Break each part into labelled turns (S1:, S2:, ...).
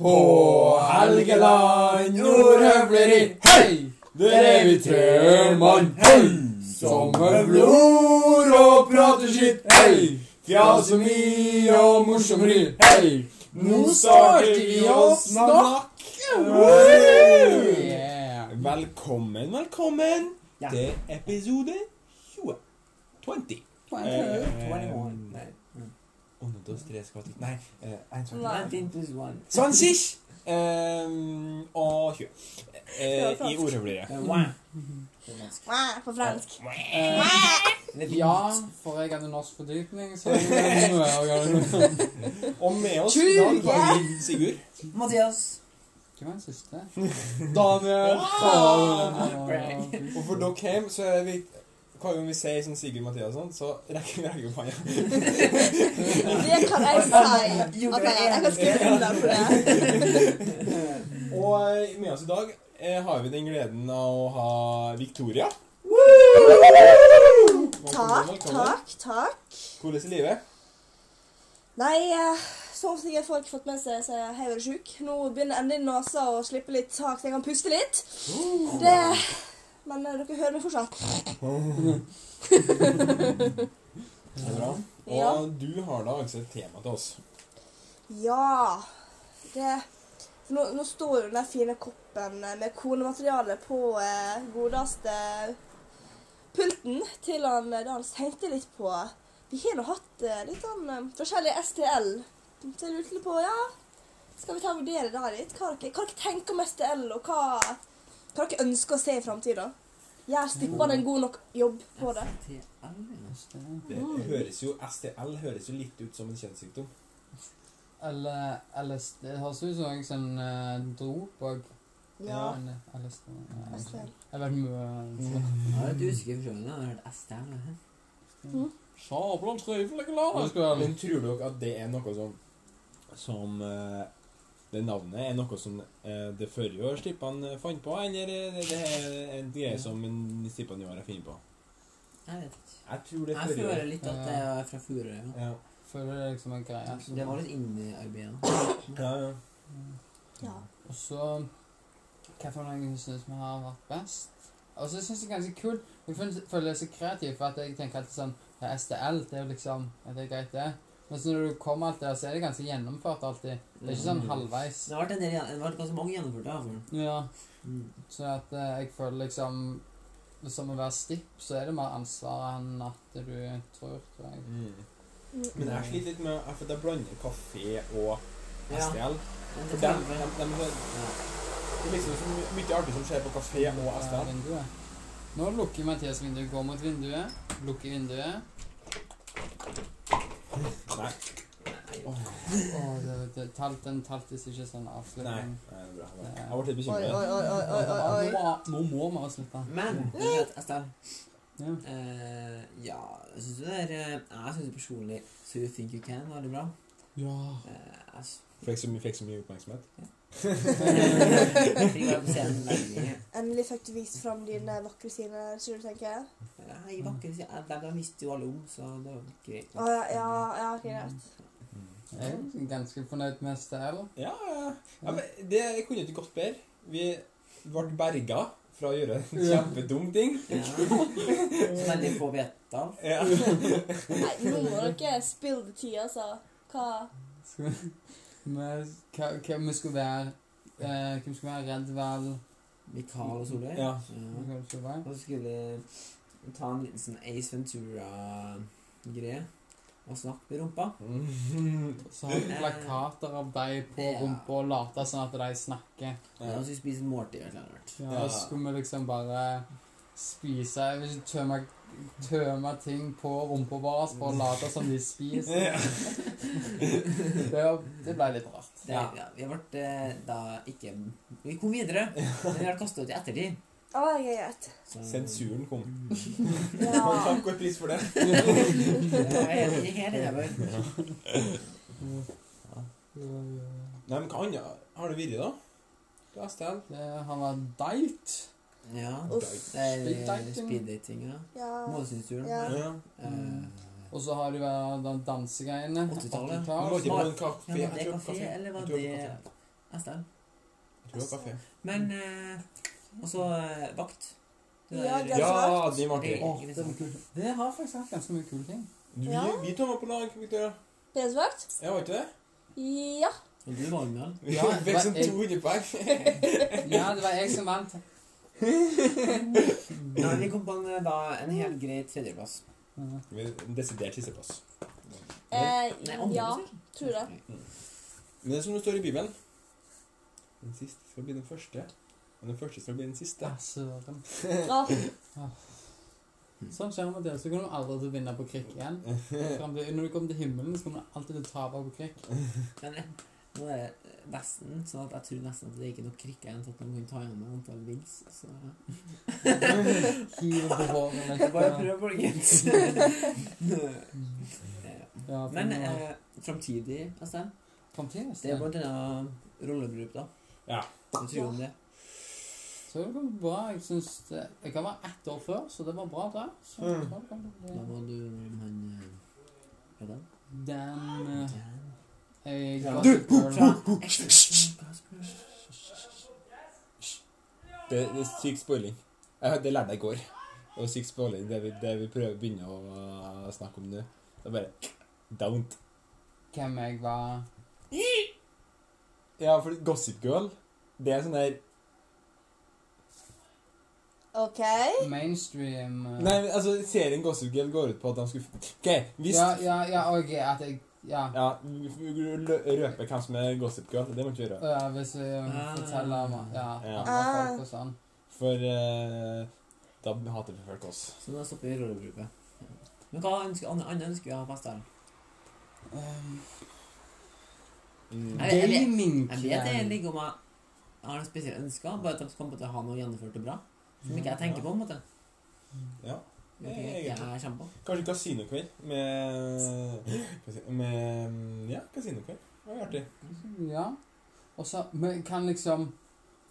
S1: På Helgeland nordhøvleri, hei! Der er vi trølmann, hei! Som høvler ord og prater skitt, hei! Fjaser mye og morsomri, hei! Nå starter vi å snakke! Woo!
S2: Velkommen, velkommen
S1: Ja.
S2: til episode 20. 20. Eh,
S1: Nei.
S2: Uno, dos, tres, cuatro. Nei, eh, en, to,
S3: Nei.
S2: Sånn sist! Ehm, og 20. Eh, I ordhøvleriet.
S3: Mwah, På fransk.
S1: Ja, for jeg hadde norsk fordypning, så det er noe å gjøre.
S2: Og med oss i dag har vi Sigurd.
S4: Mathias.
S1: Hvem var den siste?
S2: Daniel.
S1: Frank.
S2: Og for dere hjem, så er vi Hver gang vi sier sånn Sigurd Mathias og sånn, så rekker vi rekker opp hånda.
S3: Det kan jeg si. At jeg, jeg kan skrive under på det.
S2: Og eh, med oss i dag eh, har vi den gleden av å ha Victoria.
S3: Takk, takk, takk.
S2: Hvordan er livet?
S3: Nei, eh, som sikkert folk har fått med seg, så er jeg vært sjuk. Nå begynner endelig nesa å slippe litt tak, så jeg kan puste litt. Det, men eh, dere hører meg fortsatt.
S2: Det er bra. Og
S3: Ja.
S2: du har da altså et tema til oss.
S3: Ja. Det for nå, nå står jo den der fine koppen eh, med konemateriale på eh, godeste pulten til han eh, Dans. Tenkte litt på Vi har nå hatt eh, litt sånn eh, forskjellig STL. Så jeg lurte litt på Ja, skal vi ta og vurdere det her litt? Hva dere, hva dere tenker om STL, og hva, hva dere ønsker å se i framtida? Gjør stippene en god nok jobb på det?
S2: Det
S3: Mm.
S2: høres jo, STL høres jo litt ut som en kjønnssykdom.
S1: Eller LSD. Det høres ut som jeg som eh, dop og
S3: Ja.
S1: Men, eh, LSD nei, jeg vet ikke.
S3: STL.
S1: Jeg vet mye
S4: Jeg er litt usikker på sjøen. Jeg har hørt ST her. eller? Mm.
S1: Sabla trøyfelig
S2: Men tror dere at det er noe som Som eh, Det navnet er noe som eh, det forrige år Stippan fant på, eller er det, det er en greie som en Stippan i år har funnet på?
S4: Jeg vet ikke.
S2: Jeg tror det er
S4: Jeg
S2: forrige
S4: føler
S2: år.
S4: litt at det er fra Furøy. ja.
S2: Ja.
S1: Føler det er liksom en greie. som-
S4: Det var litt innarbeidet.
S2: Ja, ja.
S3: ja.
S1: Og så Hva for noen synes vi har vært best? Og så synes jeg det er ganske kult Jeg føler- føler det er så kreativt, for at jeg tenker alltid sånn ja, STL, det er jo liksom ja, Det er greit, det. Men så når du kommer alt der, så er det ganske gjennomført alltid. Det er ikke
S4: Mm.
S1: sånn halvveis.
S4: Det har vært en del gjen- det har vært ganske mange gjennomførte. i hvert fall.
S1: Ja.
S4: Mm.
S1: Så at eh, jeg føler liksom Som å være stipp, så er det mer ansvar enn at du tror, tror jeg.
S2: Mm.
S3: Mm.
S2: Men jeg sliter litt med at jeg blander kafé og
S4: Ja.
S2: STL.
S4: Men
S2: For
S4: det
S2: dem,
S4: stemmer.
S2: dem, dem,
S4: Ja.
S2: det er liksom så my- mye artig som skjer på kafé og
S1: Eh,
S2: STL.
S1: vinduet. Nå lukker Mathias vinduet, går mot vinduet, lukker vinduet.
S2: Nei.
S1: Åh, det, det, talt, den taltes ikke sånn
S2: Nei.
S1: avslutning.
S2: Nei, det er bra. det er bra. Jeg ble litt
S3: Oi,
S2: bekymret.
S3: oi, oi, oi, oi, oi, oi.
S1: Nå, nå må vi avslutte.
S4: Men det er at ST
S1: Ja.
S4: eh, Ja, jeg syns det er eh, Jeg syns personlig So You Think You Can var veldig bra.
S1: ja.
S4: Eh, jeg s-
S2: Fikk så mye, fikk så mye oppmerksomhet.
S4: Jeg fikk være på scenen veldig mye.
S3: Endelig fikk du vist fram dine vakre sider, skulle du tenke.
S4: Nei, jeg var ikke jeg, de, de visste jo alle om, så det var greit.
S3: Å ja, ja, ja, ok, greit.
S1: Jeg er ganske fornøyd med STL.
S2: Ja, ja. ja men det kunne ikke gått bedre. Vi ble berga fra å gjøre en
S1: Ja.
S2: kjempedum ting.
S4: Ja. Så veldig få vet av.
S2: Ja.
S3: Nei, nå må dere spille det tid, altså. Hva?
S1: Skal vi- vi- hva- hva vi skulle være eh, Hvem skulle være redd vel?
S4: Mikael og Solveig.
S2: Ja.
S4: Ja.
S1: Hvem skulle være?
S4: Og så skulle vi ta en liten sånn Ace Ventura-greie og snakke med rumpa.
S1: Så har vi plakater av deg på
S4: Ja.
S1: rumpa og late sånn at de snakker.
S4: Ja. Og så spise måltid eller noe rart.
S1: Ja, og så skulle vi liksom bare spise jeg vil ikke tømme, tømme ting på rumpa vår for å late som de spiser.
S2: Ja.
S1: Det, var- det ble litt rart.
S4: Det, ja.
S2: Ja.
S4: vi ble eh, da ikke Vi kom videre, men vi ble kastet ut i ettertid.
S3: Å, jeg er greit.
S4: Så,
S2: Sensuren kom.
S3: Ja.
S2: Og takk og pris for det.
S4: Det var helt- helt innafor.
S2: Nei, men hva annet har det vært, da? På STL?
S1: Det har vært date.
S4: Ja.
S3: Uff.
S4: Det er
S1: Speeddating.
S4: speeddating, ja.
S3: Ja.
S4: Målsynstur.
S3: Ja.
S2: Ja. Eh,
S1: Og så har du vært de dansegreiene.
S4: 80-tallet.
S2: Du må ikke på en
S4: Ja,
S2: kafé.
S4: men
S2: Jeg
S4: det er
S2: tror altså,
S4: kafé, eller var
S2: Jeg tror
S4: det
S2: det var
S4: Estelle.
S2: Jeg tror det var kaffe.
S4: Men eh, også eh, vakt. Det
S3: Ja,
S4: der-
S3: det er
S2: Ja,
S3: svart.
S2: de var
S4: Jeg-
S2: ikke
S1: Åh, det, var kult. det har faktisk vært ganske mye kule ting.
S2: Du, vi,
S3: Ja.
S2: vi to var på lag, Victoria.
S3: PS-vakt?
S2: Jeg var ikke det?
S3: Ja.
S4: Og du, Magnar.
S2: Vi
S1: Ja, det
S2: fikk
S1: var
S2: sånn
S1: jeg.
S2: 200 poeng.
S1: Ja, det var jeg som vant.
S4: Ja, vi kom på en, eh, da, en helt grei tredjeplass.
S1: Ja.
S2: Vi- Desidert sisteplass.
S3: Eh,
S4: Nei,
S3: ja,
S4: andreplass,
S3: tror det.
S2: Men det er som det står i Bibelen Den siste skal bli den første, og den første skal bli den siste.
S1: Ja, søren.
S3: Ja.
S1: Sånn skjer med dere, så kommer du aldri til å vinne på krikk igjen. Frem til, når du kommer til himmelen, så kommer du alltid til å tape på krikk.
S4: Men eh, nå er det eh, nesten sånn at jeg tror nesten at det er ikke nok krikker igjen til at man kan ta igjen med antall wins. Så
S1: Hiver på håret vekk.
S4: bare prøv, folkens. Eh,
S1: Ja,
S4: Men eh, framtidig, Astrid,
S1: Fremtidig,
S4: det er
S1: Sten.
S4: blant annet rollebruk, da.
S2: Ja.
S4: Hva tror du om det?
S1: Så det kom bra. Jeg synes det, jeg kan være ett år før, så det var bra da. Så
S4: Mm.
S1: jeg tror det kan
S4: Da
S1: bli-
S4: var du han eh, Hva er det?
S1: Den eh,
S4: Dan.
S1: jeg,
S4: Ja.
S1: Gossip Girl.
S4: Fra Hysj!
S2: Det, det er syk spoiling. Jeg, hørte- det lærte jeg i går. Og syk spoiling, det vi, det vi prøver å begynne å uh, snakke om nå, det er bare don't.
S1: Hvem jeg var
S2: Ja, for Gossip Girl, det er sånn der
S3: OK.
S1: mainstream eh,
S2: Nei, men, altså, serien Gossip Girl går ut på at de skulle OK, hvis
S1: Ja, ja, ja, ok, at jeg Ja.
S2: Ja, vi- vi lø- røper hvem som er Gossip Girl. Det må vi ikke gjøre.
S1: ja hvis jeg eh,
S4: Ah.
S1: forteller om ja,
S2: Ja.
S1: andre folk og sånn.
S2: For eh, da hater vi folk oss.
S4: Så da stopper vi rollebruket. Men hva ønsker, annet annet ønsker vi å ha på Astrid? Ah.
S1: Um,
S2: Mm.
S4: Nei, jeg vet- Jeg vet det
S1: Gamingkveld.
S4: ligger om jeg jeg har noen spesielle ønsker, bare at de skal på en måte ha noe gjennomført og bra. Som ikke jeg tenker
S2: Ja.
S4: på, på en måte.
S2: Ja.
S4: Noe jeg ikke jeg kommer på.
S2: Kanskje kasinokveld med Med Ja, kasinokveld. Det var artig.
S1: Ja. Og så Vi kan liksom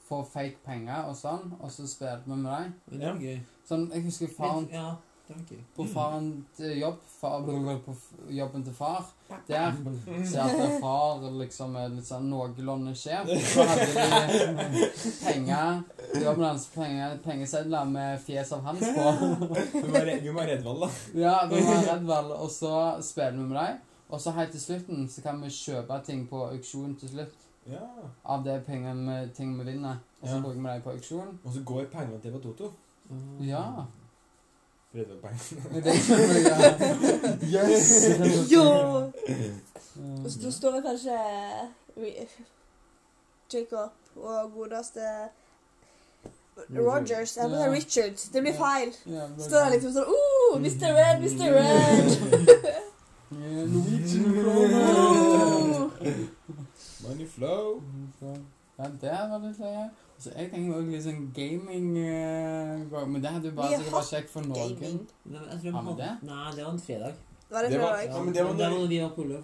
S1: få fake penger og sånn, og så spiller vi med dem.
S4: Men det var gøy.
S1: Sånn, jeg husker faren
S4: Ja, det var gøy.
S1: på faren til jobb, far, blablabla, på f- jobben til far, der
S2: Mm.
S1: ser jeg at far liksom er litt sånn noenlunde sjef. Så hadde de penger, jobben hans penger, pengesedler med fjes av hans på.
S2: Vi må ha- vi må ha Redvall, da.
S1: Ja, vi var redd vel, og så spiller vi med dem. Og så helt til slutten så kan vi kjøpe ting på auksjon til slutt.
S2: Ja.
S1: Av de pengene vi, ting vi vinner. Og så
S2: Ja.
S1: bruker vi dem på auksjon.
S2: Og så går pengene til Toto.
S4: Åh.
S1: Ja.
S2: Redvall-pengene.
S1: Men det er ikke noe å gjøre. Yes!
S3: Jo!
S1: Mm.
S3: Og så står det kanskje eh, Jacob og godeste Rogers. Jeg mener
S1: Ja.
S3: Richard. Det blir
S1: Ja.
S3: feil.
S1: Ja, men-
S3: Står der liksom sånn Oh, Mr. Red, Mr. Red!
S1: Yeah, Norwegian kroner.
S3: Oh.
S2: Money flow.
S1: Ja, det var litt løye. Altså, jeg tenker også litt sånn gaming eh, gang, Men det hadde jo
S3: Vi
S1: bare
S3: har
S1: sikkert vært kjekt for noen.
S3: Gaming.
S4: Nei, men jeg tror
S1: Har vi det?
S4: Nei, det var en fredag.
S3: Var det
S2: Det var-
S3: fredag?
S2: Ja, men det var
S4: da
S2: når-
S4: vi var på Olav.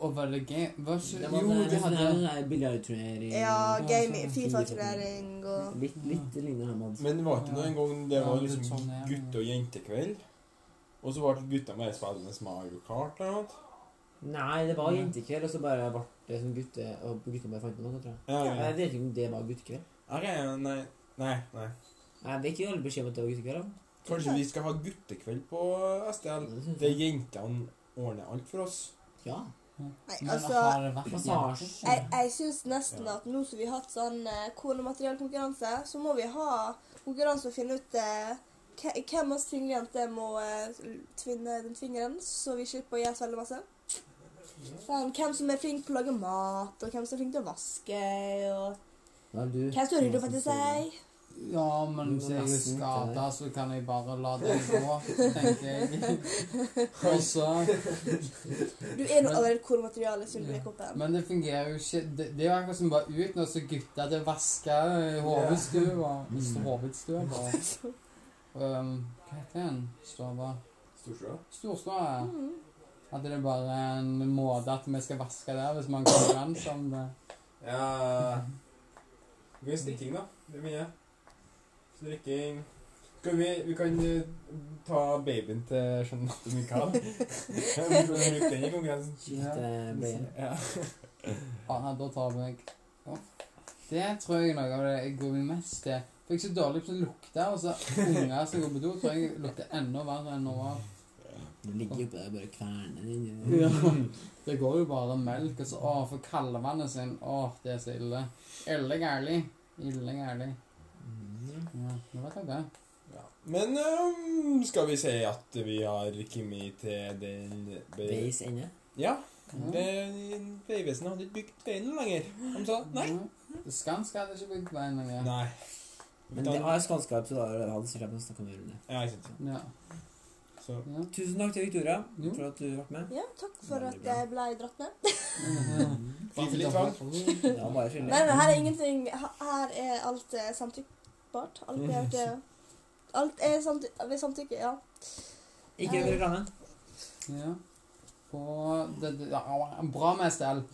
S1: Og var det ga- var ikke-
S4: Det var
S1: Jo,
S4: det sånn
S1: vi hadde
S4: hadde eh, Biljardturnering.
S3: Ja,
S1: Ja,
S3: gaming.
S1: sånn.
S3: Fifa-turnering og
S4: Litt, litt lignende Hermans.
S2: Men det var ikke noe en gang det var
S1: Ja,
S2: liksom
S1: litt sånn, ja.
S2: gutte- og jentekveld. Og så ble gutta bare spillende Mario Kart eller noe.
S4: Nei, det var jentekveld, og så bare ble det sånn gutte... Og gutta bare fant på noe, tror jeg.
S2: Ja,
S4: Men
S2: ja.
S4: Jeg vet ikke om det var guttekveld.
S2: Ok, nei. Nei, nei.
S4: Nei, det er ikke alle beskjed om at det var guttekveld. da.
S2: Kanskje vi skal ha guttekveld på STL?
S4: Det synes
S2: Der
S4: jeg.
S2: jentene ordner alt for oss.
S4: Ja.
S3: Nei,
S1: Men
S3: altså
S1: har det vært
S4: Massasje.
S1: jenter?
S3: Jeg, jeg syns nesten at nå som vi har hatt sånn eh, konematerialkonkurranse, så må vi ha konkurranse og finne ut eh, hve- hvem av oss singeljenter må eh, tvinne den fingeren, så vi slipper å gjøre så veldig masse. Sånn, hvem som er flink på å lage mat, og hvem som er flink til å vaske, og
S4: Da er du.
S3: hvem som rydder opp etter seg.
S1: Ja, men
S4: Du må
S1: hvis jeg er
S4: nesten ikke
S1: skada, så kan jeg bare la det gå, tenker jeg. Og så
S3: Du er nå allerede konemateriale, Sylvi-koppen.
S1: Men det fungerer jo ikke Det, det er jo akkurat som bare ut når så gutta til å vaske eh, i hovedstua.
S4: Mm.
S1: Hovedstua, bare. Um, hva heter den? Stova?
S2: Storstua.
S1: Storstua.
S3: Mm,
S1: At det er bare en måte at vi skal vaske der, hvis man konkurranse om det.
S2: Ja Vi kan strikking, da. Det mener jeg. Strikking Skal vi, vi kan eh, ta babyen til Jeanette og Michael. Vi kan bruke den i konkurransen.
S4: Shit, det ble
S2: Ja.
S1: Ja, nei, da tar vi meg. Ja. Det tror jeg er noe av det jeg gruer meg mest til. For jeg er så dårlig på å lukte, og så unger som går på do, tror jeg lukter enda verre enn noe av.
S4: Du ligger jo på det og bare kverner den inni
S1: Ja. Det går jo bare melk, og så å, for kalvevannet sin, å, det er så ille. Ille gærlig. Ille gærlig.
S4: Mm.
S1: Ja, nå vet jeg det.
S2: Ja. Men ehm, skal vi si at vi har kommet til den be-
S4: Veis ende.
S2: Ja.
S1: Ja.
S2: det- Vegvesenet hadde ikke bygd veien lenger. De sa nei.
S1: Ja. Skanska hadde ikke bygd veien lenger.
S2: Nei.
S4: Men det er skanska episoder, og han sikkert snakka mer om det.
S2: Ja, ikke sant.
S1: Ja.
S2: Så
S1: Ja.
S4: Tusen takk til Victoria
S1: Jo.
S4: for at du ble med.
S3: Ja, takk for
S4: Veldig
S3: at
S4: bra.
S3: jeg ble dratt med.
S2: Fint litt vann.
S4: Det var bare
S3: Nei,
S4: skyldig.
S3: men her er ingenting Her her er alt eh, samtykkbart. Alt er, det- alt er samty ved samtykke, ja.
S4: Ikke en reklame.
S1: Ja. På det, det, ja, Bra med STL.